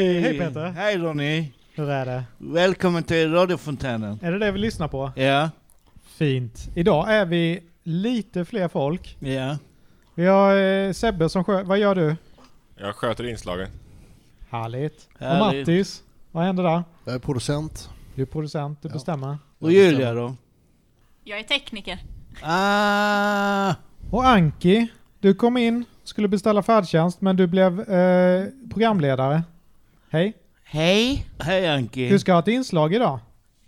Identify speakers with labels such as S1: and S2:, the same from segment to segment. S1: Lasse.
S2: Hej Ronny!
S1: Hur är det?
S2: Välkommen till radiofontänen.
S1: Är det det vi lyssnar på?
S2: Ja,
S1: Fint. Idag är vi lite fler folk.
S2: ja.
S1: Vi har eh, Sebbe som sköter. Vad gör du?
S3: Jag sköter inslagen.
S1: Härligt. Och
S2: Härligt.
S1: Mattis? Vad händer där?
S4: Jag är producent.
S1: Du är producent, du
S4: Ja.
S1: bestämmer.
S2: Och Julia då?
S5: Jag är tekniker.
S2: Ah!
S1: Och Anki? Du kom in, skulle beställa färdtjänst men du blev eh, programledare. Hej.
S6: Hej.
S2: Hej Anki!
S1: Du ska ha ett inslag idag.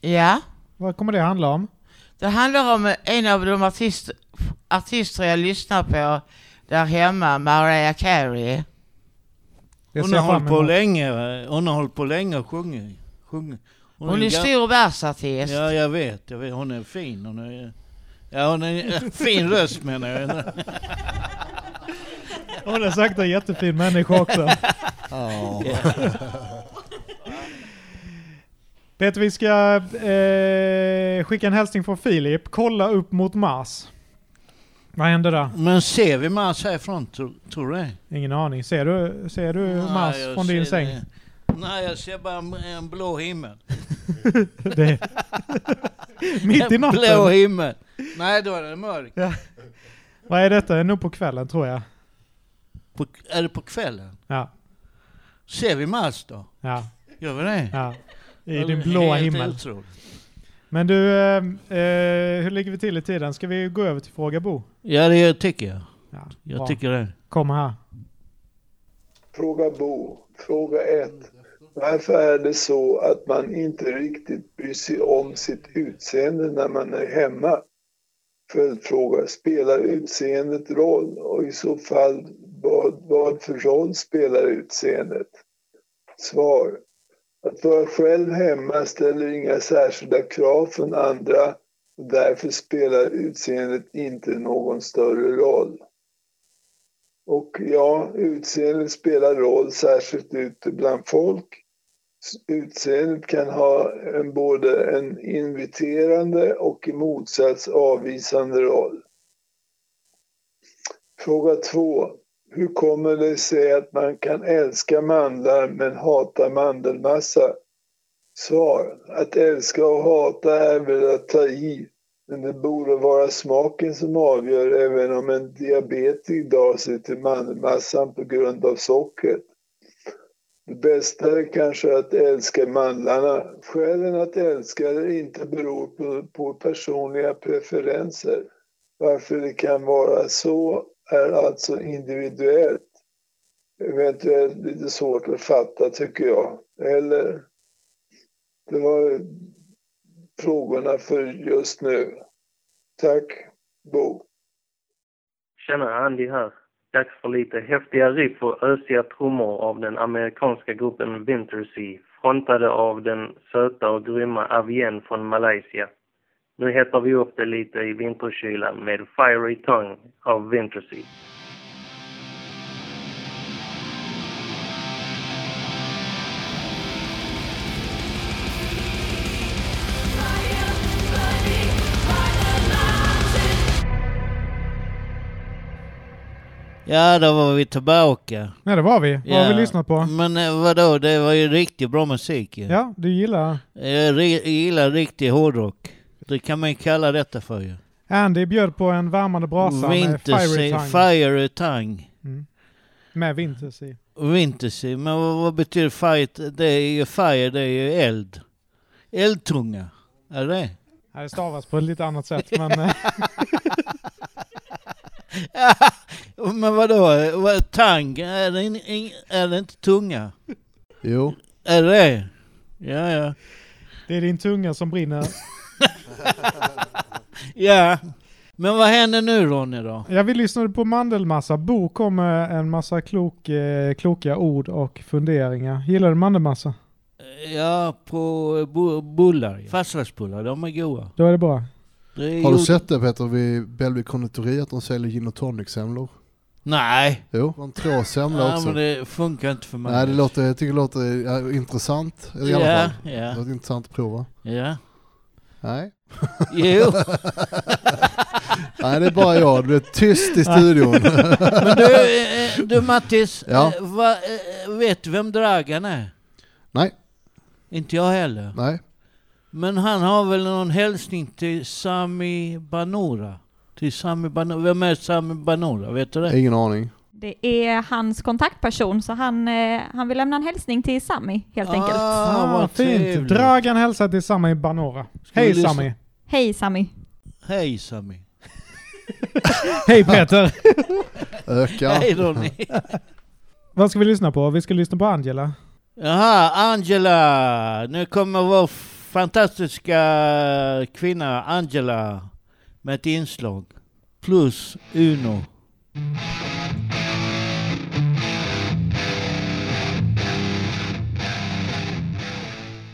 S6: Ja.
S1: Vad kommer det handla om?
S6: Det handlar om en av de artist, artister jag lyssnar på där hemma, Mariah Carey.
S1: Det
S2: Hon
S1: ser jag
S2: har
S1: fram
S2: hållit på
S1: emot.
S2: länge, va? hon har hållit på länge och sjungit. Sjungit.
S6: Hon är
S2: gam-
S6: stor världsartist.
S2: Ja, jag vet, jag vet. Hon är fin. Hon är... Ja, hon är fin röst menar jag.
S1: Hon är säkert en jättefin människa också.
S4: Ja.
S1: Peter, vi ska eh, skicka en hälsning från Filip. Kolla upp mot Mars. Vad händer där?
S2: Men ser vi Mars härifrån, tror, tror du det?
S1: Ingen aning. Ser du, ser du Mars
S2: Nej, jag
S1: från din
S2: ser
S1: säng?
S2: det. Nej, jag ser bara en- en blå himmel.
S1: Det. Mitt i
S2: Blå
S1: natten.
S2: himmel! Nej, då är det mörkt.
S1: Vad är detta? Det är nog på kvällen tror jag.
S2: På, är det på kvällen?
S1: Ja,
S2: Ser vi Mars då?
S1: ja,
S2: Gör vi det?
S1: ja. I
S2: Ja,
S1: din
S2: det är
S1: blåa
S2: helt
S1: himmel.
S2: otroligt.
S1: Men du, eh, eh, hur ligger vi till i tiden? Ska vi gå över till Fråga Bo?
S2: Ja, det tycker jag.
S1: Ja,
S2: Jag
S1: bra.
S2: tycker det.
S1: Kom här.
S7: Fråga Bo. Fråga 1. Varför är det så att man inte riktigt bryr sig om sitt utseende när man är hemma? Följdfråga. Spelar utseendet roll? Och i så fall, vad, vad för roll spelar utseendet? Svar. Att vara själv hemma ställer inga särskilda krav från andra och därför spelar utseendet inte någon större roll. Och ja, utseendet spelar roll, särskilt ute bland folk. S- Utseendet kan ha en, både en inviterande och i motsats avvisande roll. Fråga två. Hur kommer det sig att man kan älska mandlar men hata mandelmassa? Svar. Att älska och hata är väl att ta i, men det borde vara smaken som avgör även om en diabetiker drar sig till mandelmassan på grund av sockret. Det bästa är kanske att älska mandlarna. Skälen att älska eller inte beror på, på personliga preferenser. Varför det kan vara så är alltså individuellt. Eventuellt lite svårt att fatta tycker jag. Eller? Det var frågorna för just nu. Tack, Bo.
S8: Tjena, Andy här. Dags för lite häftiga riff och ösiga trummor av den amerikanska gruppen Wintersea, frontade av den söta och grymma Avien från Malaysia. Nu hettar vi upp det lite i vinterkylan med Fiery Tongue av Wintersea.
S2: Ja, då var vi tillbaka.
S1: Nej, det var vi. Vad har
S2: Ja.
S1: vi lyssnat på?
S2: Men eh, vadå, det var ju riktigt bra musik ju.
S1: Ja, du gillar
S2: Jag ri- gillar riktig hårdrock. Det kan man ju kalla detta för ju.
S1: Andy bjöd på en värmande brasa med Fiery
S2: Wintersea,
S1: Tongue.
S2: Fiery Tongue.
S1: med Winters i.
S2: Wintersea, men vad, vad betyder fire? Det är ju fire, det är ju eld. Eldtunga, är det
S1: Ja, det stavas på ett lite annat sätt men eh,
S2: Men vadå, vad, tang, är det, in, in, är det inte tunga?
S4: Jo.
S2: Är det? Ja, ja.
S1: det är din tunga som brinner.
S2: Ja. Men vad händer nu Ronny då?
S1: Ja, vi lyssnade på Mandelmassa. Bo kom med en massa klok, eh, kloka ord och funderingar. Gillar du Mandelmassa?
S2: Ja, på bu- bullar. ja. Fastlagsbullar, de är goda.
S1: Då är det bra.
S2: Det är
S4: Har du
S2: gjort-
S4: sett det Peter vid Bellevue konditori att de säljer gin och tonic-semlor?
S2: Nej.
S4: Jo, en tråsemla
S2: Ja,
S4: också.
S2: men det funkar inte för mig.
S4: Nej, det låter, jag tycker det låter ja, intressant i alla
S2: Ja,
S4: fall. Det
S2: ja,
S4: låter intressant att prova.
S2: ja.
S4: Nej.
S2: Jo,
S4: Nej, det är bara jag. Det är tyst i studion.
S2: men du, eh, du Mattis,
S4: Ja.
S2: eh, va, eh, vet du vem Dragan är?
S4: Nej,
S2: Inte jag heller.
S4: nej.
S2: Men han har väl någon hälsning till Sami Banora? Till Sami Banora. Vem är Sami Banora? Vet du det?
S4: Ingen aning.
S5: Det är hans kontaktperson, så han, eh, han vill lämna en hälsning till Sami helt enkelt.
S2: Ah, vad
S1: fint!
S2: trevligt.
S1: Dragan hälsar till Sami Banora.
S2: Ska vi
S1: Hej
S2: lyssna?
S1: Sami!
S5: Hej Sami.
S2: Hej Sami.
S1: Hej Peter!
S4: Ökar.
S2: Hej Ronny.
S1: Vad ska vi lyssna på? Vi ska lyssna på Angela.
S2: Jaha, Angela. Nu kommer vår fantastiska kvinna Angela med ett inslag. Plus Uno.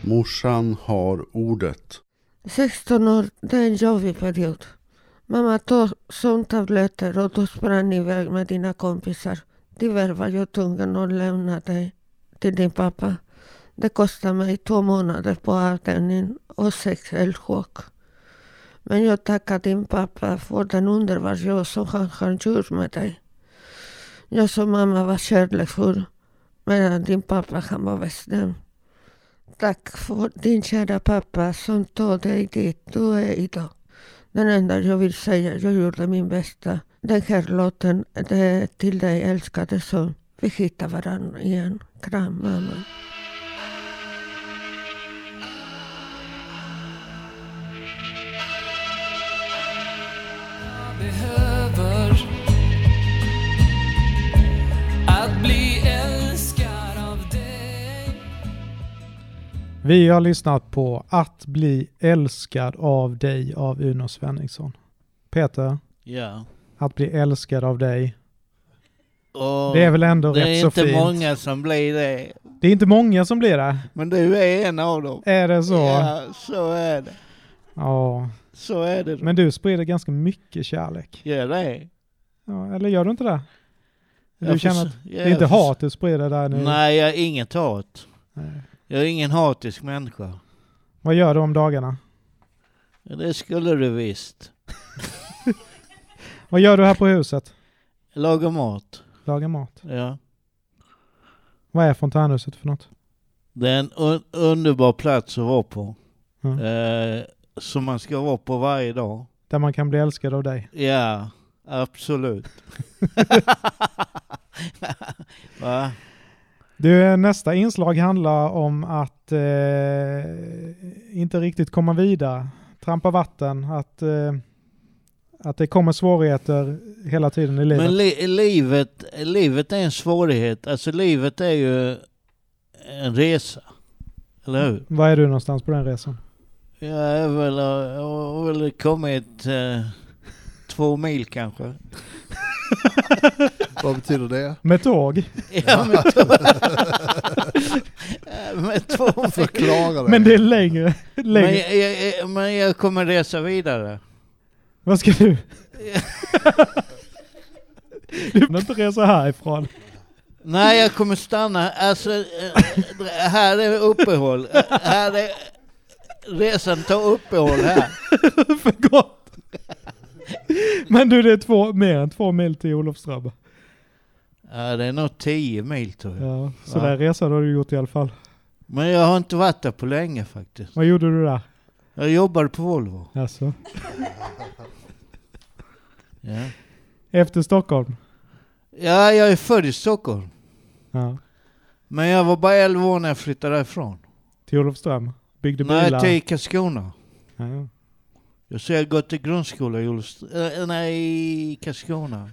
S9: Morsan har ordet.
S10: 16 år, det är en jobbig period. Mamma tog sömntabletter och du sprang iväg med dina kompisar. Tyvärr var jag tvungen att lämna dig till din pappa. Det kostade mig två månader på avdelningen och sex elchock. Men jag tackar din pappa för den underbara jobb som han har gjort med dig. Jag som mamma var kärleksfull, medan din pappa han var bestämd. Tack för din kära pappa som tog dig dit du är idag. Den enda jag vill säga, jag gjorde min bästa. Den här låten det är till dig älskade son. Vi hittar varandra igen. Kram mamma.
S11: behöver att bli älskad av dig
S1: Vi har lyssnat på Att bli älskad av dig av Uno Svenningsson. Peter,
S2: Ja.
S1: Att bli älskad av dig.
S2: Och
S1: Det är väl ändå
S2: det är
S1: rätt så
S2: inte
S1: fint?
S2: många som blir det.
S1: Det är inte många som blir det.
S2: Men du är en av dem.
S1: Är det så? Ja.
S2: Ja, så är det. Så är det.
S1: Men du sprider ganska mycket kärlek.
S2: Ja, det är.
S1: Ja, eller gör du inte det? Du
S2: Jag
S1: känner
S2: förs-
S1: att
S2: ja,
S1: det är inte
S2: jag förs-
S1: hat du sprider där nu?
S2: Nej, jag är inget hat.
S1: Nej.
S2: Jag är ingen hatisk människa.
S1: Vad gör du om dagarna?
S2: Det skulle du visst.
S1: Vad gör du här på huset?
S2: Laga mat.
S1: Lagar mat.
S2: Ja.
S1: Vad är fontänhuset för något?
S2: Det är en un- underbar plats att vara på.
S1: Mm.
S2: Eh, som man ska vara på varje dag.
S1: Där man kan bli älskad av dig.
S2: Ja, absolut. Va?
S1: Du, eh, nästa inslag handlar om att eh, inte riktigt komma vidare, trampa vatten, att, eh, att det kommer svårigheter hela tiden i livet.
S2: Men li- livet, livet är en svårighet. Alltså livet är ju en resa. Eller hur?
S1: Var är du någonstans på den resan?
S2: Jag är väl, jag har väl kommit eh, två mil kanske.
S4: Vad betyder det?
S1: Med tåg?
S2: Ja, men två, men två mil.
S4: Förklara det.
S1: Men det är längre. längre.
S2: Men jag, jag, jag- men jag kommer resa vidare.
S1: Vad ska du? du kan inte resa härifrån.
S2: Nej, jag kommer stanna. Alltså, eh, här är uppehåll. Eh, Här är... Resan tar uppehåll här.
S1: För gott. Men du, det är två, mer än två mil till Olofström.
S2: Ja, det är nog 10 mil tror jag.
S1: Ja, så
S2: Ja.
S1: den resan har du gjort i alla fall.
S2: Men jag har inte varit där på länge faktiskt.
S1: Vad gjorde du där?
S2: Jag jobbade på Volvo.
S1: Alltså,
S2: Ja,
S1: efter Stockholm?
S2: ja jag är född i Stockholm.
S1: Ja.
S2: Men jag var bara 11 år när jag flyttade därifrån.
S1: Till Olofström? Byggde bilar?
S2: Nej, till Karlskrona.
S1: Ja, ja.
S2: Jag ser jag har gått i grundskola i Olofström. Nej, i Karlskrona.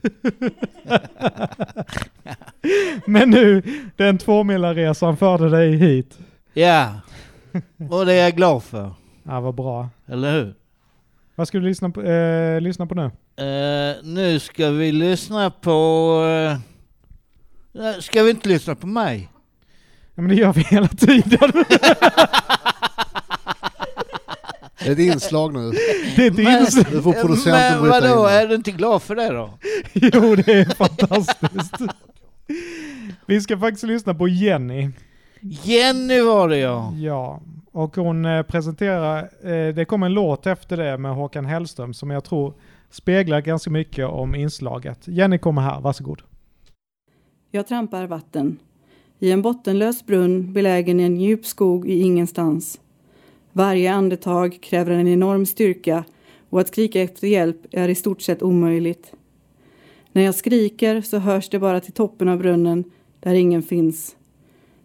S1: Men nu, den tvåmilaresan förde dig hit.
S2: Ja, och det är jag glad för.
S1: Ja, vad bra.
S2: Eller hur?
S1: Vad ska du lyssna på, eh, lyssna på nu?
S2: Eh, nu ska vi lyssna på... eh, ska vi inte lyssna på mig?
S1: Ja, men det gör vi hela tiden.
S4: Är det ett inslag nu?
S1: Det är ett
S2: Men-
S1: inslag.
S4: Nu får producenten
S2: Men
S4: bryta in.
S2: vadå,
S4: det.
S2: är du inte glad för det då?
S1: Jo, det är fantastiskt. Vi ska faktiskt lyssna på Jenny.
S2: Jenny var det ja!
S1: Ja, och hon eh, presenterar, eh, det kom en låt efter det med Håkan Hellström som jag tror speglar ganska mycket om inslaget. Jenny kommer här, varsågod.
S11: Jag trampar vatten
S12: i en bottenlös brunn belägen i en djup skog i ingenstans. Varje andetag kräver en enorm styrka och att skrika efter hjälp är i stort sett omöjligt. När jag skriker så hörs det bara till toppen av brunnen där ingen finns.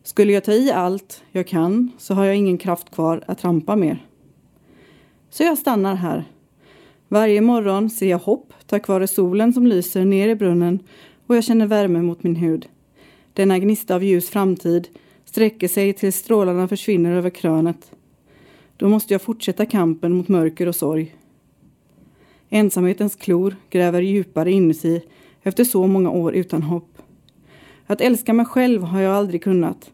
S12: Skulle jag ta i allt jag kan så har jag ingen kraft kvar att trampa mer. Så jag stannar här. Varje morgon ser jag hopp tack vare solen som lyser ner i brunnen och jag känner värme mot min hud. Denna gnista av ljus framtid sträcker sig tills strålarna försvinner över krönet. Då måste jag fortsätta kampen mot mörker och sorg. Ensamhetens klor gräver djupare inuti efter så många år utan hopp. Att älska mig själv har jag aldrig kunnat.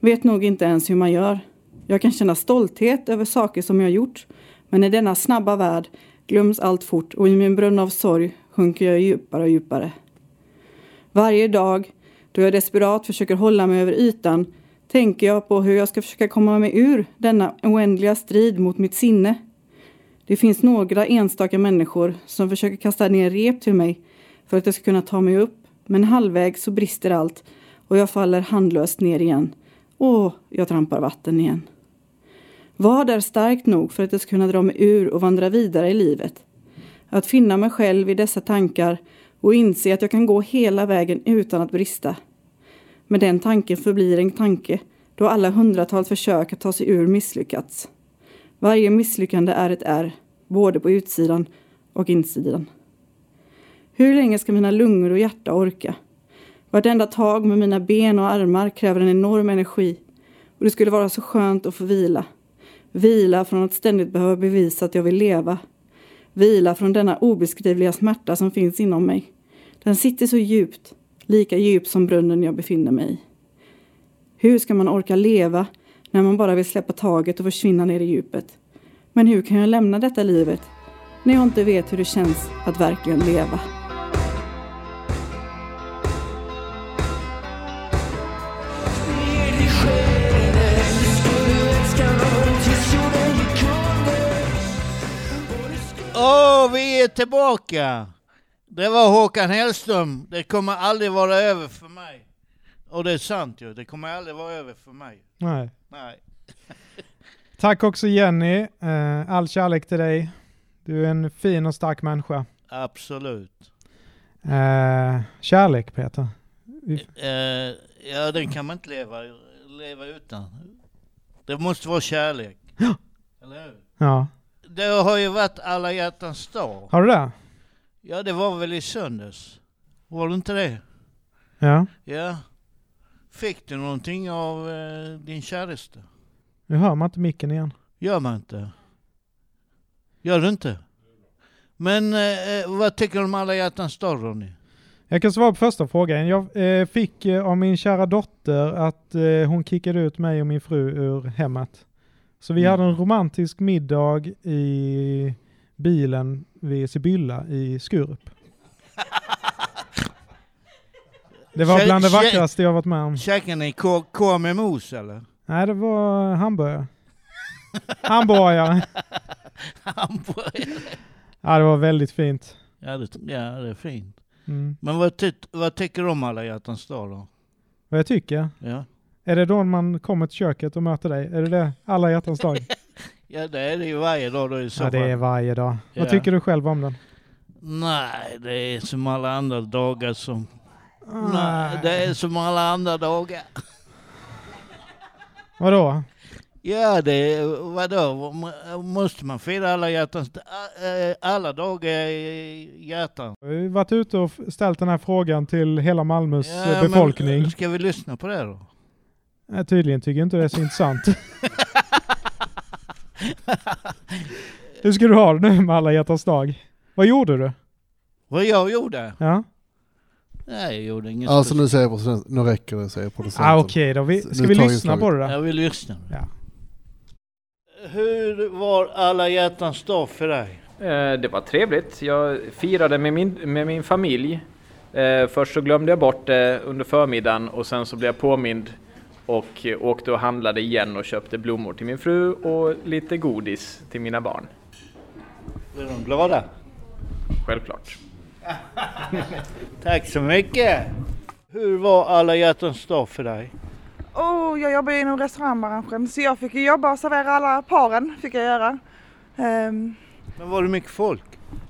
S12: Vet nog inte ens hur man gör. Jag kan känna stolthet över saker som jag gjort men i denna snabba värld glöms allt fort och i min brunn av sorg sjunker jag djupare och djupare. Varje dag då jag desperat försöker hålla mig över ytan tänker jag på hur jag ska försöka komma mig ur denna oändliga strid mot mitt sinne. Det finns några enstaka människor som försöker kasta ner rep till mig för att jag ska kunna ta mig upp, men halvvägs så brister allt och jag faller handlöst ner igen. Och jag trampar vatten igen. Vad är starkt nog för att jag ska kunna dra mig ur och vandra vidare i livet? Att finna mig själv i dessa tankar och inse att jag kan gå hela vägen utan att brista. Men den tanken förblir en tanke då alla hundratals försök att ta sig ur misslyckats. Varje misslyckande är ett R, både på utsidan och insidan. Hur länge ska mina lungor och hjärta orka? Vartenda tag med mina ben och armar kräver en enorm energi och det skulle vara så skönt att få vila. Vila från att ständigt behöva bevisa att jag vill leva. Vila från denna obeskrivliga smärta som finns inom mig. Den sitter så djupt, lika djupt som brunnen jag befinner mig i. Hur ska man orka leva när man bara vill släppa taget och försvinna ner i djupet? Men hur kan jag lämna detta livet när jag inte vet hur det känns att verkligen leva?
S2: Åh, vi är tillbaka! Det var Håkan Hellström. Det kommer aldrig vara över för mig. Och det är sant ju. Det kommer aldrig vara över för mig.
S1: Nej.
S2: Nej.
S1: Tack också Jenny. Eh, All kärlek till dig. Du är en fin och stark människa.
S2: Absolut.
S1: Eh, Kärlek Peter. Vi-
S2: Eh, ja, den kan man inte leva, leva utan. Det måste vara kärlek. Eller hur?
S1: Ja.
S2: Det har ju varit alla hjärtans dag.
S1: Har du det?
S2: Ja, det var väl i söndags? Var det inte det?
S1: Ja.
S2: Ja. Fick du någonting av eh, din käresta?
S1: Nu hör man inte micken igen.
S2: Gör man inte? Gör du inte? Men eh, vad tycker du om alla hjärtans dag Ronny?
S1: Jag kan svara på första frågan. Jag eh, fick eh, av min kära dotter att eh, hon kickade ut mig och min fru ur hemmet. Så
S2: Mm.
S1: vi hade en romantisk middag i bilen vid Sibylla i Skurup. Det var
S2: Kä-
S1: bland det
S2: kä-
S1: vackraste jag varit med om.
S2: Käkar ni k- korv med mos eller?
S1: Nej, det var hamburgare. Hamburgare.
S2: Hamburgare.
S1: Ja, det var väldigt fint.
S2: Ja det, ja, det är fint.
S1: Mm.
S2: Men vad, ty- vad tycker du om alla hjärtans dag då?
S1: Vad jag tycker?
S2: Ja.
S1: Är det då man kommer till köket och möter dig? Är det det? Alla hjärtans dag?
S2: Ja det är det ju varje dag då i så
S1: Ja, det
S2: fall.
S1: är varje dag.
S2: Ja.
S1: Vad tycker du själv om den?
S2: Nej, det är som alla andra dagar som...
S1: Nej.
S2: Nej, det är som alla andra dagar.
S1: Vadå?
S2: Ja, det är, vadå, må- måste man fira alla hjärtans... a- eh, Alla dagar i hjärtan.
S1: Vi har varit ute och f- ställt den här frågan till hela Malmös
S2: Ja,
S1: eh,
S2: men
S1: befolkning.
S2: Ska vi lyssna på det då?
S1: Nej, Tydligen tycker inte det är så intressant. Hur ska du ha det nu med alla hjärtans dag? Vad gjorde du?
S2: Vad jag gjorde?
S1: Ja.
S2: Nej, jag gjorde inget
S4: Alltså nu säger producenten, nu räcker det säger producenten.
S1: Ah, okej då. Vi-
S4: Så
S1: ska
S4: nu
S1: vi
S4: tar
S1: lyssna
S4: inslaget.
S1: på det då?
S2: Jag vill lyssna.
S1: Ja.
S2: Hur var alla hjärtans dag för dig?
S13: Eh, Det var trevligt. Jag firade med min, med min familj. Eh, Först så glömde jag bort det under förmiddagen och sen så blev jag påmind och eh, åkte och handlade igen och köpte blommor till min fru och lite godis till mina barn.
S2: Blev de glada?
S13: Självklart.
S2: Tack så mycket! Hur var alla hjärtans dag för dig?
S14: Oh, jag jobbar ju inom restaurangbranschen så jag fick ju jobba och servera alla paren. fick jag göra. Ehm,
S2: Men var det mycket folk?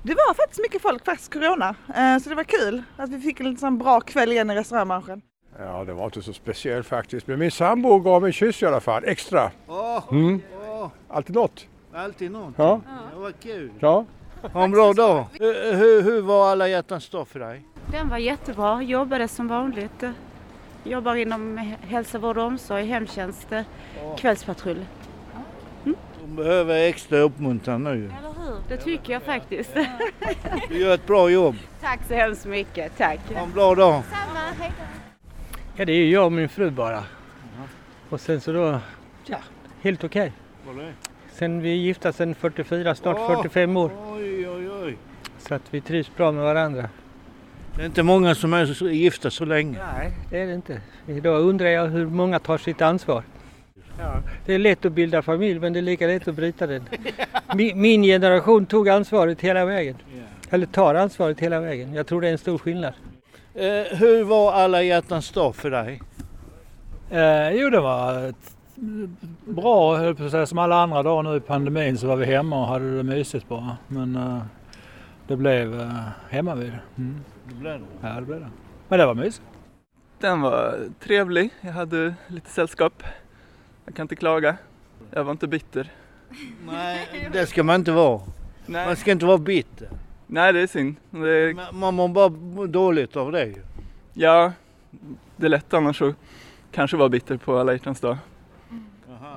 S14: det var faktiskt mycket folk faktiskt corona eh, så det var kul att vi fick en liten sån bra kväll igen i restaurangbranschen.
S3: Ja, det var inte så speciellt faktiskt. Men min sambo gav mig en kyss i alla fall, extra.
S2: Åh,
S3: Mm.
S2: åh,
S3: Alltid något.
S2: alltid någonting.
S3: Ja.
S2: Det var kul.
S3: Ja.
S2: Ha en bra dag. Hur, hur, hur var alla hjärtans dag för dig?
S15: Den var jättebra, jobbade som vanligt. Jobbar inom hälsa, vård och omsorg, hemtjänst, kvällspatrull.
S2: De behöver extra uppmuntran nu.
S15: Eller hur? Det tycker jag faktiskt.
S2: Du gör ett bra jobb.
S15: Tack så hemskt mycket, tack.
S2: Ha en bra dag.
S15: Samma, hej då.
S16: Ja, det är ju jag och min fru bara. Och sen så då, ja, helt okej.
S2: Var det?
S16: Sen vi är gifta sedan 44, snart
S2: Åh,
S16: 45 år.
S2: Oj, oj, oj.
S16: Så att vi trivs bra med varandra.
S2: Det är inte många som är så- gifta så länge.
S16: Nej, det är det inte. Idag undrar jag hur många tar sitt ansvar. Det är lätt att bilda familj men det är lika lätt att bryta den. Min, min generation tog ansvaret hela vägen. Eller tar ansvaret hela vägen. Jag tror det är en stor skillnad.
S2: Eh, hur var alla hjärtans dag för dig?
S17: Eh, jo, det var ett bra, höll på att säga. Som alla andra dagar nu i pandemin så var vi hemma och hade det mysigt bara. Men eh, det blev eh, hemmavid. Mm.
S2: Det blev
S17: Ja, det blev det. Men det var mysigt.
S18: Den var trevlig. Jag hade lite sällskap. Jag kan inte klaga. Jag var inte bitter.
S2: Nej, det ska man inte vara.
S18: Nej.
S2: Man ska inte vara bitter.
S18: Nej, det är synd. Det...
S2: Man mår bara dåligt av det ju.
S18: Ja, det är lätt annars att kanske vara bitter på alla hjärtans dag.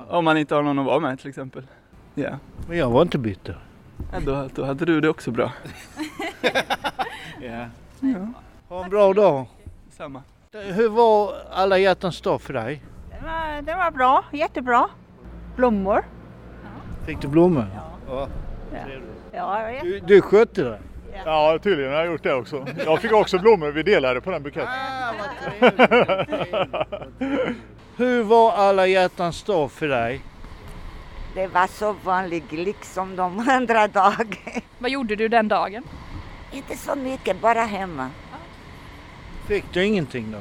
S18: Om man inte har någon att vara med till exempel. Ja,
S2: Men jag var inte bitter.
S18: ja då, då hade du det också bra.
S2: Ja. Ha en bra dag.
S18: Samma.
S2: Hur var alla hjärtans dag för dig?
S19: Den var, den var bra, jättebra. Blommor.
S2: Fick du blommor?
S20: Ja.
S19: Ja, det var jätte-
S2: Du, du skötte det?
S20: Ja, tydligen har jag gjort det också. Jag fick också blommor, vi delade på den buketten.
S2: Ah, Hur var alla hjärtans dag för dig?
S21: Det var så vanligt liksom de andra dagarna.
S22: Vad gjorde du den dagen?
S21: Inte så mycket, bara hemma.
S2: Fick du ingenting då?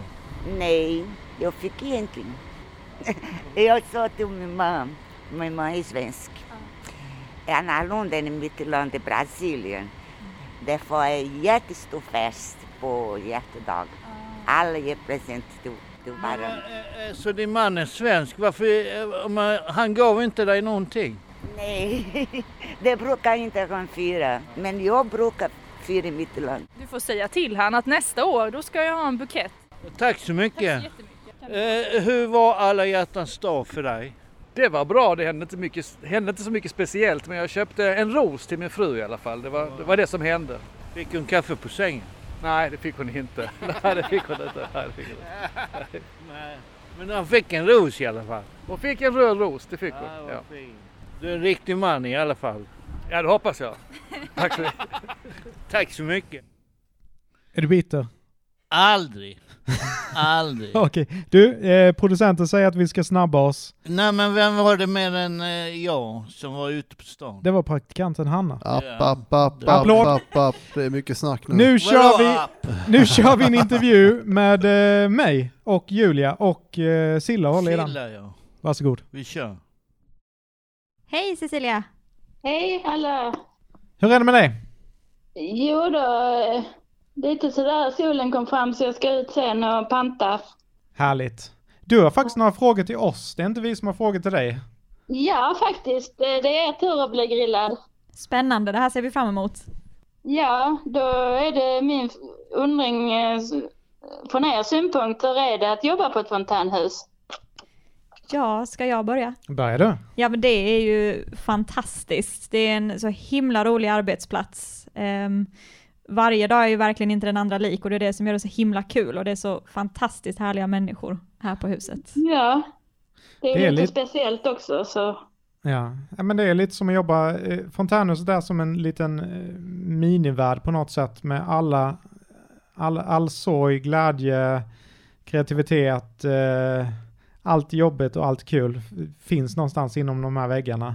S21: Nej, jag fick ingenting. Jag sa till min mamma, min mamma är svensk. Annorlunda än mitt land, är Brasilien. Det var en jättestor fest på hjärtedag. Alla ger present till, till varandra.
S2: Ah. Eh, Så din man är svensk, varför, eh, om han- han gav inte dig någonting?
S21: Nej, det brukar inte han fira. Men jag brukar fira i mitt land.
S22: Du får säga till han att nästa år då ska jag ha en bukett.
S2: Tack så mycket. Eh, hur var alla hjärtans dag för dig?
S23: Det var bra, det hände inte, mycket, hände inte så mycket speciellt men jag köpte en ros till min fru i alla fall. Det var det, var det som hände.
S2: Fick hon kaffe på sängen?
S23: Nej, det fick hon inte. Nej, det fick hon inte. Nej, det fick hon inte.
S2: Men han fick en ros i alla fall.
S23: Hon fick en röd ros, det fick hon. Ja,
S2: Du är en riktig man i alla fall.
S23: ja det hoppas jag. Tack så mycket.
S2: Tack så mycket.
S1: Är du bitter?
S2: Aldrig. Aldrig.
S1: Okej. Du, eh, producenten säger att vi ska snabba oss.
S2: Nej men vem var det mer än eh, jag som var ute på stan?
S1: Det var praktikanten Hanna.
S2: App,
S4: App, app, app,
S1: Applåd.
S4: app, app. Det är mycket snack nu.
S1: Nu kör, vi, nu kör vi en
S4: inte.
S1: intervju med eh, mig och Julia och eh, Silla håller i den.
S2: Silla, ja.
S1: Varsågod.
S2: Vi kör.
S5: Hej Cecilia!
S24: Hej alla!
S1: Hur är det med dig?
S24: Jo då, eh, lite sådär solen kom fram så jag ska ut sen och panta.
S1: Härligt. Du har faktiskt några frågor till oss. Det är inte vi som har frågor till dig.
S24: Ja faktiskt, eh, det är er tur att bli grillad.
S5: Spännande, det här ser vi fram emot.
S24: Ja, då är det min f- undring eh, s- från er synpunkt, hur är det att jobba på ett fontänhus?
S5: Ja, ska jag börja?
S1: Börjar du?
S5: Ja men det är ju fantastiskt. Det är en så himla rolig arbetsplats. Ehm, varje dag är ju verkligen inte den andra lik och det är det som gör det så himla kul och det är så fantastiskt härliga människor här på huset.
S24: Ja, det är,
S1: Det är
S24: lite
S1: lite-
S24: speciellt också så.
S1: Ja. ja, men det är lite som att jobba, eh, Fontänhuset är som en liten eh, minivärld på något sätt med alla, all, all sorg, glädje, kreativitet, eh, allt jobbigt och allt kul f- finns någonstans inom de här väggarna.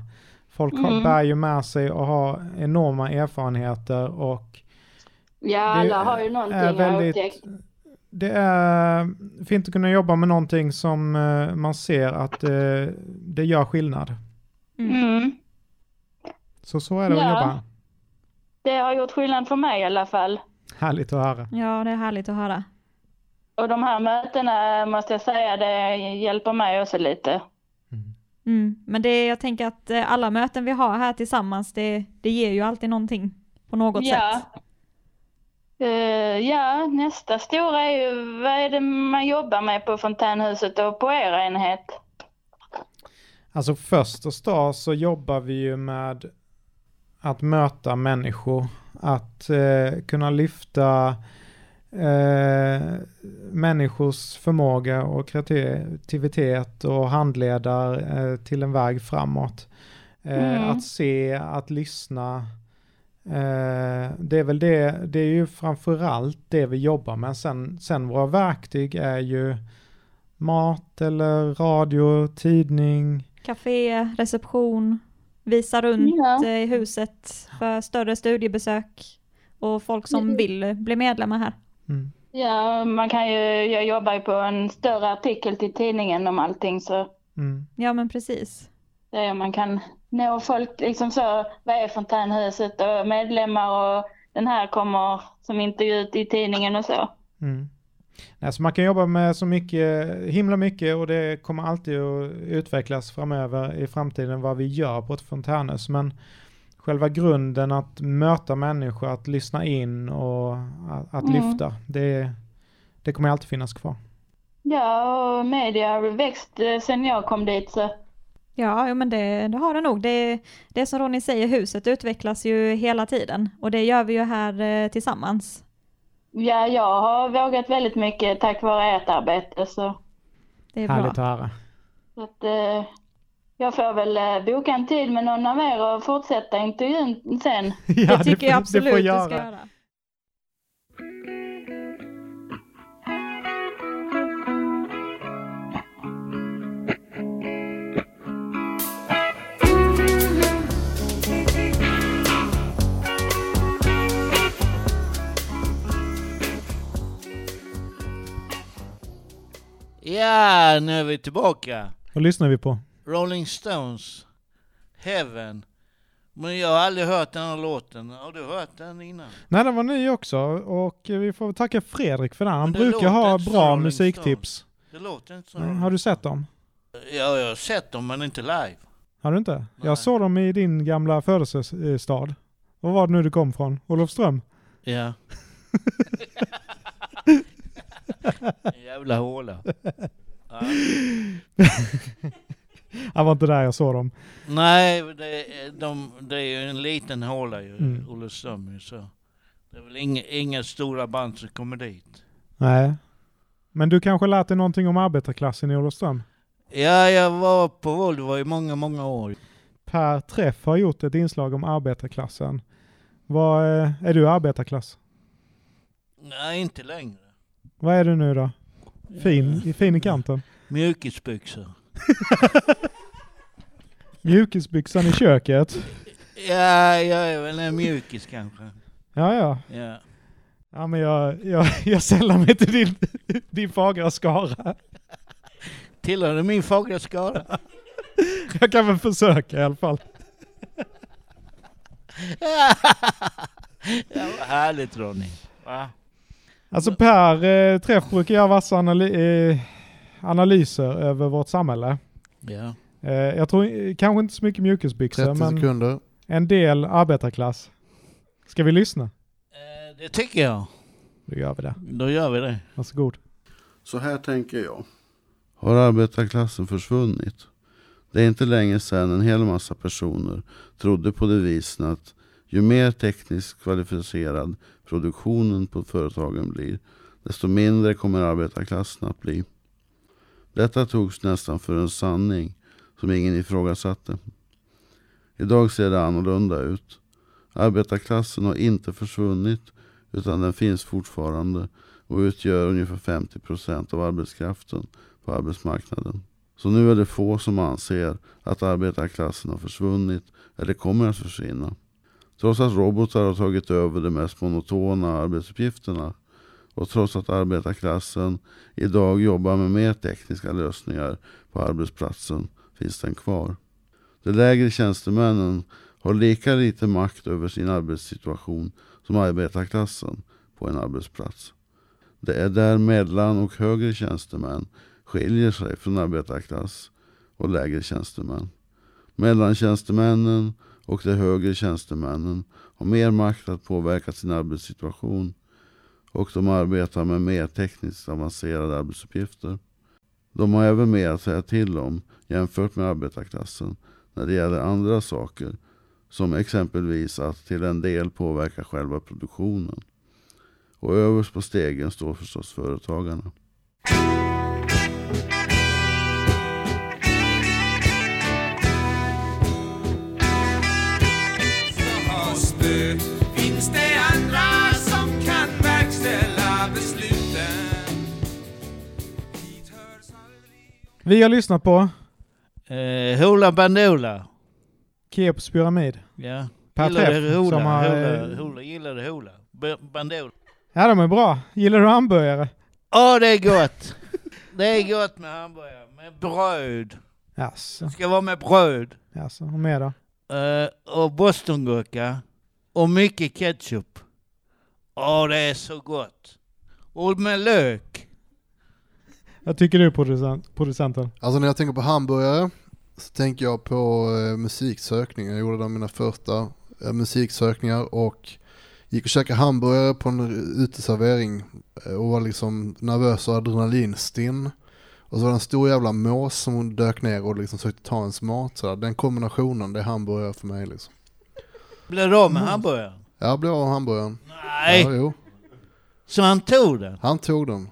S1: Folk har,
S24: Mm.
S1: bär ju med sig och har enorma erfarenheter och
S24: Ja,
S1: Det
S24: alla har
S1: är
S24: ju någonting
S1: väldigt-
S24: att upptäcka.
S1: det är fint att kunna jobba med någonting som eh, man ser att eh, det gör skillnad.
S24: Mm.
S1: Så så är det
S24: Ja.
S1: att jobba.
S24: Det har gjort skillnad för mig i alla fall.
S1: Härligt att höra.
S5: Ja, det är härligt att höra.
S24: Och de här mötena måste jag säga, det hjälper mig också lite.
S5: Mm. Men det, jag tänker att eh, alla möten vi har här tillsammans, det, det ger ju alltid någonting på något
S24: Ja.
S5: sätt.
S24: Eh, ja, nästa stora är ju, vad är det man jobbar med på fontänhuset och på er enhet?
S1: Alltså först och start så jobbar vi ju med att möta människor, att eh, kunna lyfta eh, människors förmåga och kreativitet och handleda eh, till en väg framåt. Eh,
S25: Mm.
S1: Att se, att lyssna. Eh, det är väl det, det är ju framförallt det vi jobbar med. Sen, sen våra verktyg är ju mat eller radio, tidning,
S5: Café, reception, visa runt
S24: Ja.
S5: eh, i huset för större studiebesök och folk som
S24: Mm.
S5: vill eh, bli medlemmar här.
S24: Ja, man kan ju, jag jobbar ju på en större artikel till tidningen om allting så Mm.
S5: Ja, men precis.
S24: det är, man kan nå folk liksom så, vad är fontänhuset och medlemmar och den här kommer som intervju ut i tidningen och så.
S1: Mm. Nej, så man kan jobba med så mycket, himla mycket och det kommer alltid att utvecklas framöver i framtiden vad vi gör på ett fontänhus. Men själva grunden att möta människor, att lyssna in och att, att
S24: Mm.
S1: lyfta, det, det kommer alltid finnas kvar.
S24: Ja, och media har växt eh, sen jag kom dit så.
S5: Ja, jo, men det, det har det nog. Det, det är som Ronny säger, huset utvecklas ju hela tiden och det gör vi ju här eh, tillsammans.
S24: Ja, jag har vågat väldigt mycket tack vare ert arbete så.
S5: Det är
S1: Härligt
S5: bra.
S1: att höra.
S24: Så att, eh, jag får väl eh, boka en tid med någon av er och fortsätta intervjun sen.
S1: Ja, det tycker får- jag det får absolut du ska göra.
S24: göra.
S2: Ja, nu är vi tillbaka.
S1: Vad lyssnar vi på?
S2: Rolling Stones, Heaven. Men jag har aldrig hört den här låten. Har du hört den innan?
S1: Nej, den var ny också och vi får tacka Fredrik för den. Han
S2: det
S1: brukar
S2: låter
S1: ha
S2: inte som
S1: bra
S2: Rolling
S1: musiktips.
S2: Det låter inte så.
S1: Mm, Har du sett dem?
S2: Ja, jag har sett dem men inte live.
S1: Har du inte? Jag såg dem i din gamla födelsestad. Vad var det nu du kom från? Olofström?
S2: Ja. Jävla håla. Ja.
S1: Jag var inte där jag såg dem.
S2: Nej, det, är- de, det är ju en liten håla ju,
S1: Mm.
S2: Olofström ju, så. Det är väl inga, inga stora band som kommer dit.
S1: Nej. Men du kanske lät dig någonting om arbetarklassen i Olofström?
S2: Ja, jag var på Volvo i många, många år.
S1: Per Träff har gjort ett inslag om arbetarklassen. Vad, eh, är du arbetarklass?
S2: Nej, inte längre.
S1: Vad är du nu då? Fin, fin i kanten?
S2: Mjukisbyxor.
S1: Mjukisbyxan i köket?
S2: Ja, jag är väl en mjukis kanske.
S1: Ja, ja.
S2: Ja.
S1: Ja, men jag, jag, jag sällar mig till din, din fagra skara.
S2: Tillhör du min fagra skara?
S1: Jag kan väl försöka i alla fall.
S2: Ja, vad härligt Ronny. Va?
S1: Alltså Per eh, Träff brukar göra vassa analy- eh, analyser över vårt samhälle.
S2: Ja.
S1: Eh, jag tror eh, kanske inte så mycket mjukisbyxor,
S4: 30
S1: men
S4: sekunder.
S1: en del arbetarklass. Ska vi lyssna?
S2: Det tycker jag.
S1: Då gör vi det.
S2: Då gör vi det.
S1: Varsågod.
S26: Så här tänker jag.
S9: har arbetarklassen försvunnit. Det är inte länge sedan en hel massa personer trodde på devisen att ju mer tekniskt kvalificerad produktionen på företagen blir, desto mindre kommer arbetarklassen att bli. Detta togs nästan för en sanning som ingen ifrågasatte. Idag ser det annorlunda ut. Arbetarklassen har inte försvunnit utan den finns fortfarande och utgör ungefär 50 procent av arbetskraften på arbetsmarknaden. Så nu är det få som anser att arbetarklassen har försvunnit eller kommer att försvinna. Trots att robotar har tagit över de mest monotona arbetsuppgifterna och trots att arbetarklassen idag jobbar med mer tekniska lösningar på arbetsplatsen finns den kvar. De lägre tjänstemännen har lika lite makt över sin arbetssituation som arbetarklassen på en arbetsplats. Det är där mellan och högre tjänstemän skiljer sig från arbetarklass och lägre tjänstemän. Mellantjänstemännen och de högre tjänstemännen har mer makt att påverka sin arbetssituation och de arbetar med mer tekniskt avancerade arbetsuppgifter. De har även mer att säga till om jämfört med arbetarklassen när det gäller andra saker som exempelvis att till en del påverka själva produktionen. Och överst på stegen står förstås företagarna.
S25: Finns det andra som kan verkställa besluten?
S1: Vi har lyssnat på
S2: Eh, Hoola Bandoola.
S1: Keops pyramid.
S2: Ja.
S1: Per
S2: Gillade
S1: Träff,
S2: Hoola,
S1: som har,
S2: Hoola,
S1: eh,
S2: Hoola, gillade Hoola. B- Bandoola.
S1: Ja, de är bra. Gillar du hamburgare?
S2: Ja, det är gott. det är gott med hamburgare. Med bröd.
S1: Jaså.
S2: Det ska vara med bröd.
S1: Jaså, och mer då?
S2: Eh, och bostongurka. Och mycket ketchup. Åh, det är så gott. Och med lök.
S1: Vad tycker du producent, producenten?
S4: Alltså när jag tänker på hamburgare så tänker jag på eh, musiksökningar. Jag gjorde de mina första eh, musiksökningar och gick och käkade hamburgare på en uteservering eh, och var liksom nervös och adrenalinstinn. Och så var det en stor jävla mås som dök ner och liksom försökte ta ens mat. Så där. Den kombinationen, det är hamburgare för mig liksom.
S2: Blir du av med hamburgaren?
S4: Jag blev av hamburgaren.
S2: Nej.
S4: Ja, jo.
S2: Så han tog den?
S4: Han tog den.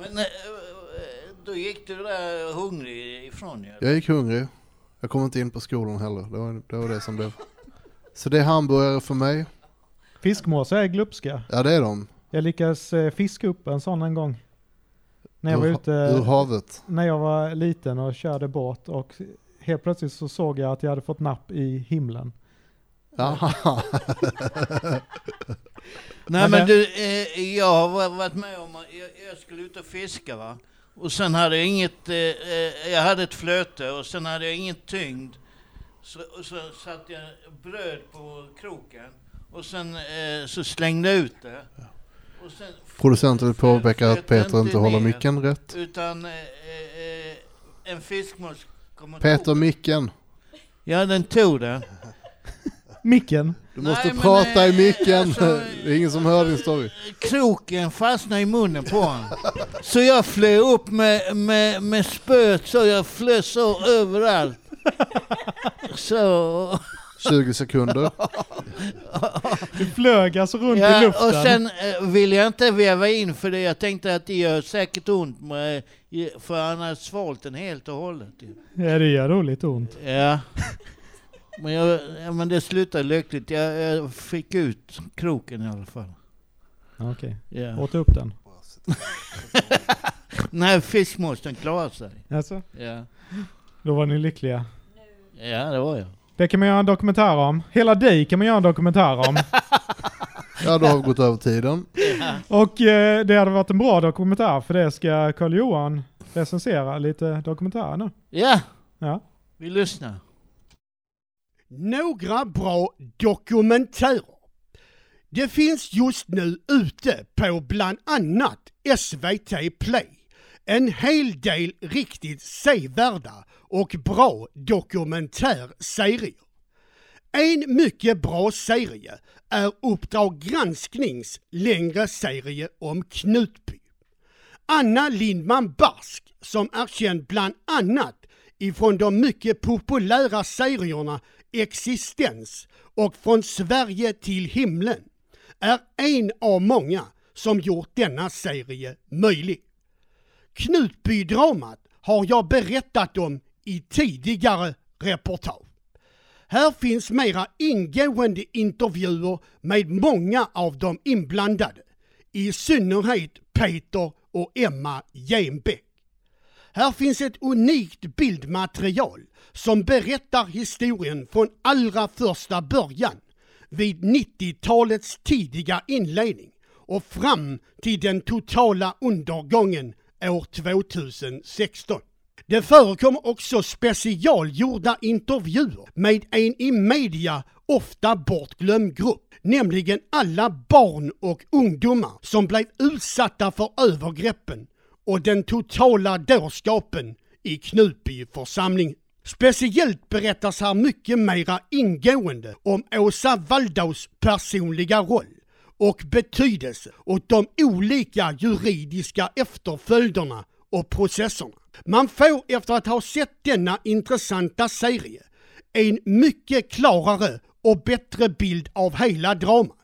S2: Men eh, eh, då gick du där hungrig ifrån ju.
S4: Jag gick hungrig. Jag kom inte in på skolan heller. Det var det, var det som blev. Så det är hamburgare för mig.
S1: Fiskmåsar är glupska.
S4: Ja det är de.
S1: Jag lyckades eh, fiska upp en sån en gång. När jag
S4: Ur
S1: var
S4: ha-
S1: ute...
S4: ur havet?
S1: När jag var liten och körde båt och helt plötsligt så såg jag att jag hade fått napp i himlen.
S4: Aha.
S2: Nej men du, eh, jag har va- varit med om att jag, jag skulle ut och fiska va. Och sen hade jag inget, eh, eh, jag hade ett flöte och sen hade jag ingen tyngd. Så, och så satt jag bröd på kroken och sen eh, så slängde jag ut det. Och sen
S4: Producenten vill påpeka att Peter inte håller micken rätt.
S2: Utan eh, eh, en fiskmås kom och
S4: Peter micken.
S2: Ja den tog den.
S1: Micken?
S4: Du måste
S2: Nej, men,
S4: prata i
S2: eh,
S4: micken.
S2: alltså- eh,
S4: det är ingen som hör din story.
S2: kroken fastnade i munnen på honom. Så jag flög upp med, med, med spöet så jag flög så överallt. Så...
S4: 20 sekunder.
S1: Du flög alltså runt i
S2: Ja,
S1: luften.
S2: och sen eh, vill jag inte veva in för det. Jag tänkte att det gör säkert ont med, i- för han har svalt den helt och hållet. ju.
S1: Ja, det gör roligt ont.
S2: Ja. Men, jag, ja, men det slutade lyckligt. Jag, jag fick ut kroken i alla fall.
S1: Ja, Okej.
S2: Ja.
S1: Åt du upp den?
S2: Nej, fiskmåsten klarade sig.
S1: Alltså?
S2: Ja.
S1: Då var ni lyckliga.
S2: ja, det var jag.
S1: Det kan man göra en dokumentär om. Hela dig kan man göra en dokumentär om.
S4: Ja, då har vi gått över tiden.
S1: Och eh, det hade varit en bra dokumentär för det ska Carl-Johan recensera lite dokumentärer nu.
S2: Ja,
S1: Ja.
S2: vi lyssnar.
S27: Några bra dokumentärer. Det finns just nu ute på bland annat SVT Play en hel del riktigt sevärda och bra dokumentärserier. En mycket bra serie är Uppdrag gransknings längre serie om Knutby. Anna Lindman Barsk som är känd bland annat ifrån de mycket populära serierna Existens och Från Sverige till himlen är en av många som gjort denna serie möjlig. Knutbydramat har jag berättat om i tidigare reportage. Här finns mera ingående intervjuer med många av de inblandade. I synnerhet Peter och Emma Genbeck. Här finns ett unikt bildmaterial som berättar historien från allra första början vid 90-talets tidiga inledning och fram till den totala undergången år 2016. Det förekom också specialgjorda intervjuer med en i media ofta bortglömd grupp, nämligen alla barn och ungdomar som blev utsatta för övergreppen och den totala dårskapen i Knutby församling. Speciellt berättas här mycket mera ingående om Åsa Waldaus personliga roll och betydelse och de olika juridiska efterföljderna och processerna. Man får efter att ha sett denna intressanta serie en mycket klarare och bättre bild av hela dramat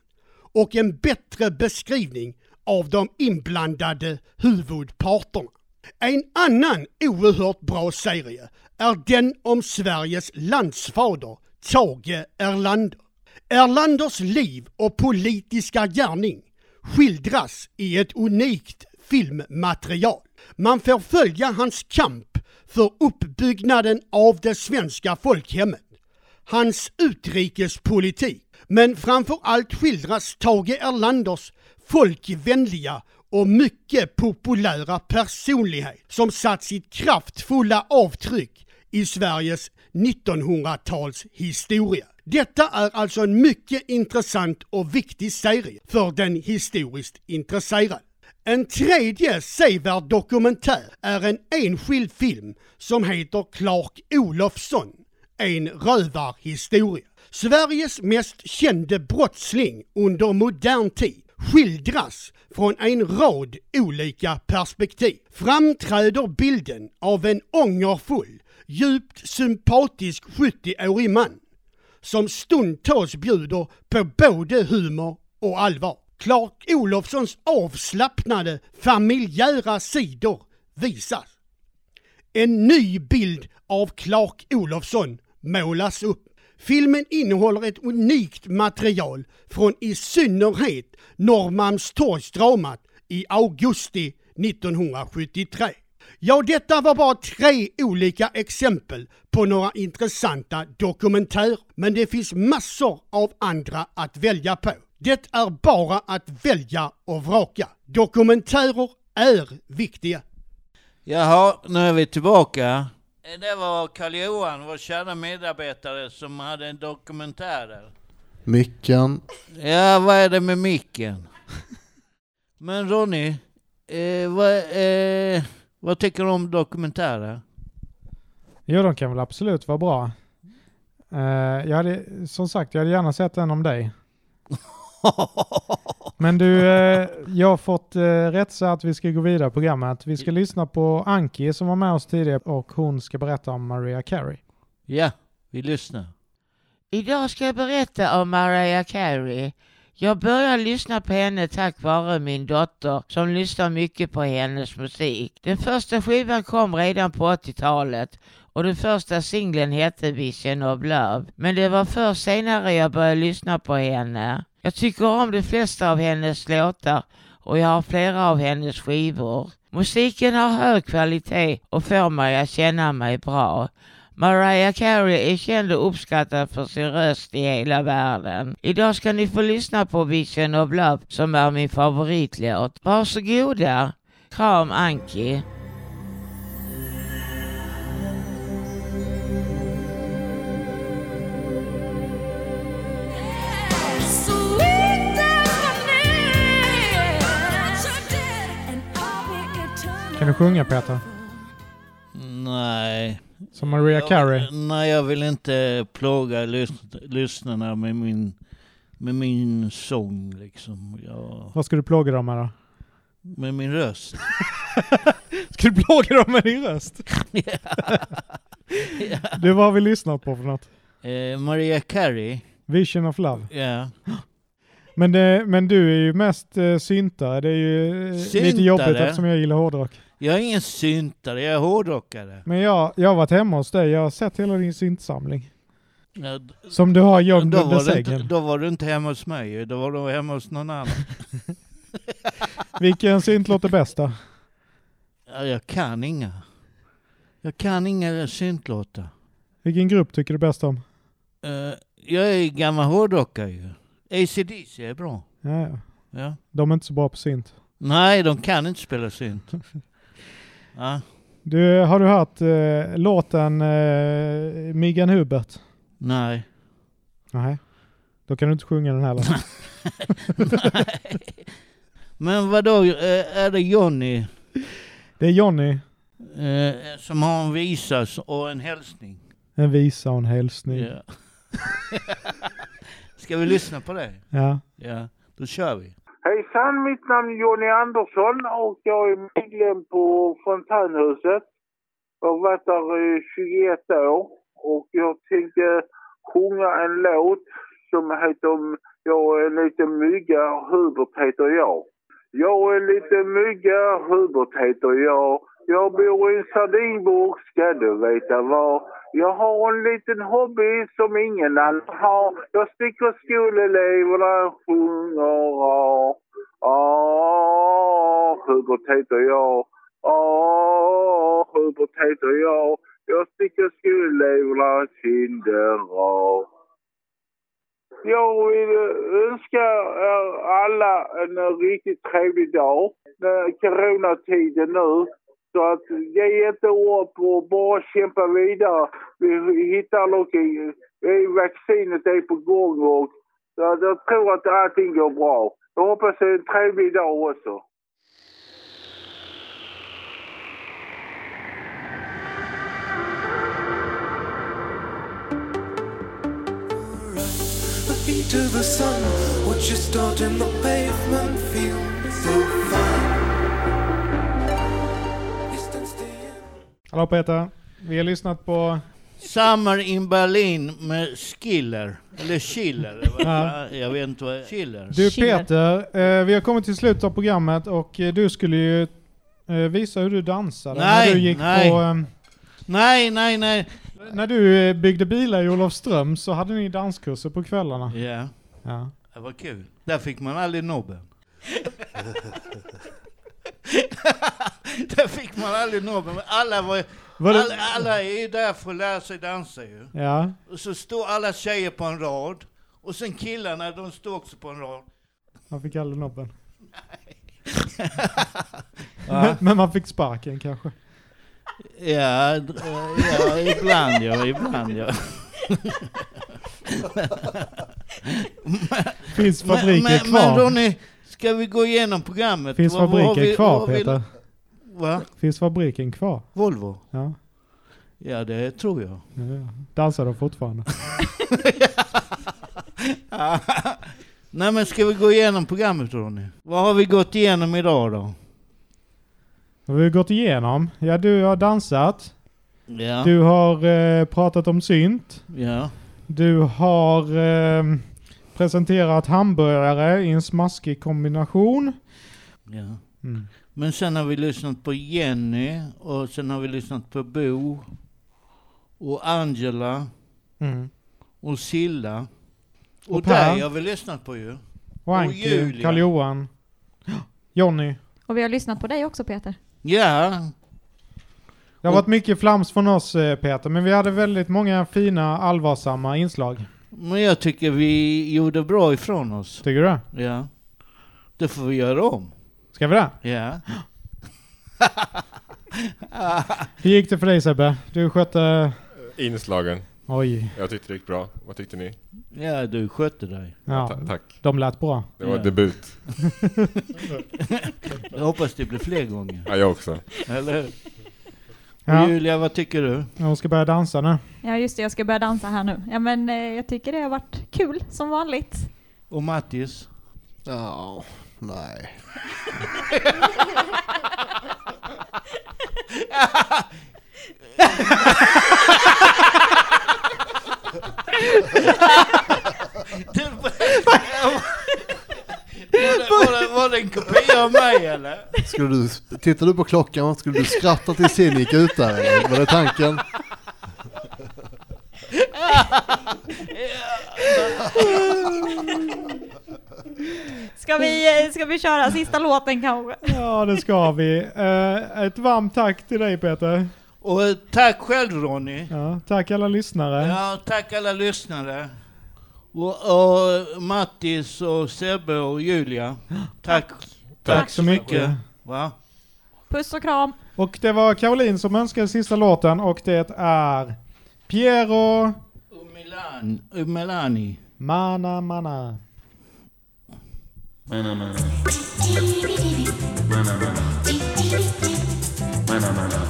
S27: och en bättre beskrivning av de inblandade huvudparterna. En annan oerhört bra serie är den om Sveriges landsfader Tage Erlander. Erlanders liv och politiska gärning skildras i ett unikt filmmaterial. Man får följa hans kamp för uppbyggnaden av det svenska folkhemmet, hans utrikespolitik, men framför allt skildras Tage Erlanders folkvänliga och mycket populära personlighet som satt sitt kraftfulla avtryck i Sveriges 1900-tals historia. Detta är alltså en mycket intressant och viktig serie för den historiskt intresserade. En tredje sevärd dokumentär är en enskild film som heter Clark Olofsson, en rövarhistoria. Sveriges mest kände brottsling under modern tid skildras från en rad olika perspektiv. Framträder bilden av en ångerfull, djupt sympatisk 70-årig man som stundtals bjuder på både humor och allvar. Clark Olofssons avslappnade familjära sidor visas. En ny bild av Clark Olofsson målas upp. Filmen innehåller ett unikt material från i synnerhet Norrmalmstorgsdramat i augusti 1973. Ja, detta var bara tre olika exempel på några intressanta dokumentärer, men det finns massor av andra att välja på. Det är bara att välja och vraka. Dokumentärer är viktiga.
S2: Jaha, nu är vi tillbaka. Eh, Det var Karl-Johan, vår kära medarbetare, som hade en dokumentär där.
S4: Mickan.
S2: Ja, vad är det med micken? Men Ronny, eh, vad, eh, vad tycker du om dokumentärer?
S1: Jo, de kan väl absolut vara bra. Eh, jag hade, som sagt, jag hade gärna sett en om dig. Men du, eh, jag har fått eh, rätt så att vi ska gå vidare i programmet. Vi ska lyssna på Anki som var med oss tidigare och hon ska berätta om Maria Carey.
S2: Ja, vi lyssnar.
S6: Idag ska jag berätta om Mariah Carey. Jag började lyssna på henne tack vare min dotter som lyssnar mycket på hennes musik. Den första skivan kom redan på 80-talet och den första singeln hette Vision of Love. Men det var först senare jag började lyssna på henne. Jag tycker om de flesta av hennes låtar och jag har flera av hennes skivor. Musiken har hög kvalitet och får mig att känna mig bra. Mariah Carey är känd och uppskattad för sin röst i hela världen. Idag ska ni få lyssna på Vision of Love som är min favoritlåt. Varsågoda! Kram Anki!
S1: Kan du sjunga Peter?
S2: Nej.
S1: Som Maria
S2: Jag-
S1: Carey?
S2: Nej, jag vill inte plåga lys- lyssnarna med min, med min sång liksom. Jag,
S1: Vad ska du plåga dem med då?
S2: med min röst.
S1: Ska du plåga dem med din röst? Du, vad har vi lyssnat på för något?
S2: eh, Maria Carey,
S1: Vision of Love.
S2: ja.
S1: Men, det, men du är ju mest eh, syntare. Det är ju eh, lite
S2: Syntare?
S1: jobbigt eftersom jag gillar hårdrock.
S2: Jag är ingen syntare, jag är hårdrockare.
S1: Men jag, jag har varit hemma hos dig. Jag har sett hela din syntsamling.
S2: Ja, d-
S1: Som du har gömd
S2: då,
S1: under
S2: var du inte,
S1: sängen.
S2: då var du inte hemma hos mig ju. då var du hemma hos någon annan.
S1: Vilken synt låter bäst då?
S2: Ja, jag kan inga. Jag kan inga syntlåtar.
S1: Vilken grupp tycker du bäst om?
S2: Eh, jag är gammal hårdrockare ju. AC/DC är bra.
S1: Ja, ja.
S2: Ja.
S1: De är inte så bra på synt.
S2: Nej, de kan inte spela synt. Ja.
S1: Du, har du hört eh, låten eh, Myggan Hubert?
S2: Nej.
S1: Nej. Då kan du inte sjunga den heller.
S2: Men vadå, eh, är det Johnny
S1: det är Johnny,
S2: eh, som har en visa och en hälsning?
S1: en visa och en hälsning.
S2: Ja. Ska vi lyssna på det?
S1: Ja.
S2: Ja, då kör vi.
S28: Hejsan, mitt namn är Jonny Andersson och jag är medlem på Fontänhuset. Jag har varit där i 21 år och jag tänkte sjunga en låt som heter om Jag är en liten mygga, Hubert heter jag. Jag är en liten mygga, Hubert heter jag. Jag bor i en sardinburk, ska du veta var. Jag har en liten hobby som ingen annan har. Jag sticker skoleleverna och sjunger ah. Ah, Hubert heter jag. Ah, Hubert heter jag. Jag sticker skoleleverna i kinder ah. Jag vill önska er alla en riktigt trevlig dag. Det är coronatiden nu. Så att ge inte upp och bara kämpa vidare. Vi hittar någonting. Vaccinet är på gång och jag jag tror att allting går bra. Jag hoppas det är en trevlig dag också.
S11: the beat of the sun. What you start in the pavement feels so fine.
S1: Hallå Peter, vi har lyssnat på...
S2: Summer in Berlin med Skiller. Eller Schiller. eller vad
S1: Ja.
S2: fan- Jag vet inte vad... Schiller.
S1: Du Peter, eh, vi har kommit till slutet av programmet och eh, du skulle ju eh, visa hur du dansade när
S2: Nej,
S1: du gick
S2: nej.
S1: på... ehm,
S2: Nej, nej, nej.
S1: när du eh, byggde bilar i Olofström så hade ni danskurser på kvällarna.
S2: Ja.
S1: Ja.
S2: Det var kul. Där fick man aldrig nobben. där fick man aldrig nobben. Alla, var,
S1: Var det-
S2: alla, alla är ju där för att lära sig dansa ju.
S1: Ja.
S2: Och så står alla tjejer på en rad. Och sen killarna, de står också på en rad.
S1: Man fick aldrig nobben. men, men man fick sparken kanske.
S2: Ja, d- ja ibland ja, ibland ja.
S1: Finns fabriker
S2: men,
S1: kvar?
S2: Men Ronny, ska vi gå igenom programmet?
S1: Finns
S2: Vad- vad har
S1: fabriken
S2: vi- vad
S1: kvar
S2: har vi-
S1: Peter?
S2: Va?
S1: Finns fabriken kvar?
S2: Volvo?
S1: Ja.
S2: Ja, det tror jag.
S1: Ja, ja. Dansar de fortfarande?
S2: Nej men ska vi gå igenom programmet Ronny? Vad har vi gått igenom idag då?
S1: Har vi gått igenom? Ja, du har dansat.
S2: Ja.
S1: Du har eh, pratat om synt.
S2: Ja.
S1: Du har eh, presenterat hamburgare i en smaskig kombination.
S2: ja.
S1: Mm.
S2: Men sen har vi lyssnat på Jenny och sen har vi lyssnat på Bo och Angela
S1: Mm.
S2: och Silla. Och,
S1: Och Per.
S2: dig har vi lyssnat på ju.
S1: Och Anki, Karl-Johan, Jonny.
S5: Och vi har lyssnat på dig också Peter.
S2: Ja.
S1: Det har varit mycket flams från oss eh, Peter, men vi hade väldigt många fina allvarsamma inslag.
S2: Men jag tycker vi gjorde bra ifrån oss.
S1: Tycker du?
S2: Ja. Det får vi göra om.
S1: Ska vi det?
S2: Ja.
S1: Hur gick det för dig Sebbe? Du skötte...
S12: Inslagen.
S1: Oj.
S12: Jag tyckte det gick bra. Vad tyckte ni?
S2: Ja, du skötte dig.
S1: Ja,
S12: ta- tack.
S1: De lät bra.
S12: Det var
S2: Ja.
S12: debut.
S2: jag hoppas det blir fler gånger.
S12: Ja, jag också.
S2: Eller hur?
S1: Ja.
S2: Och Julia, vad tycker du?
S1: Hon ska börja dansa nu.
S5: Ja just det, jag ska börja dansa här nu. Ja men eh, jag tycker det har varit kul som vanligt.
S2: Och Mattis?
S4: Ja, nej.
S2: Du- Var det, var, det, var det en kopia av mig eller?
S4: Skulle du, tittar du på klockan, skulle du skratta tills Sim gick ut där? eller? Var det tanken?
S5: Ska vi, eh, ska vi köra sista låten kanske?
S1: Ja, det ska vi. Eh, ett varmt tack till dig Peter.
S2: Och eh, tack själv Ronny.
S1: Ja, tack alla lyssnare.
S2: Ja, tack alla lyssnare. Och, och Mattis och Sebbe och Julia. Tack. Tack,
S1: Tack så mycket.
S2: Va?
S5: Puss och kram.
S1: Och det var Caroline som önskade sista låten och det är Piero
S2: Milan, Melani.
S1: Mana Mana.
S11: Mana mana. Mana mana. Mana mana.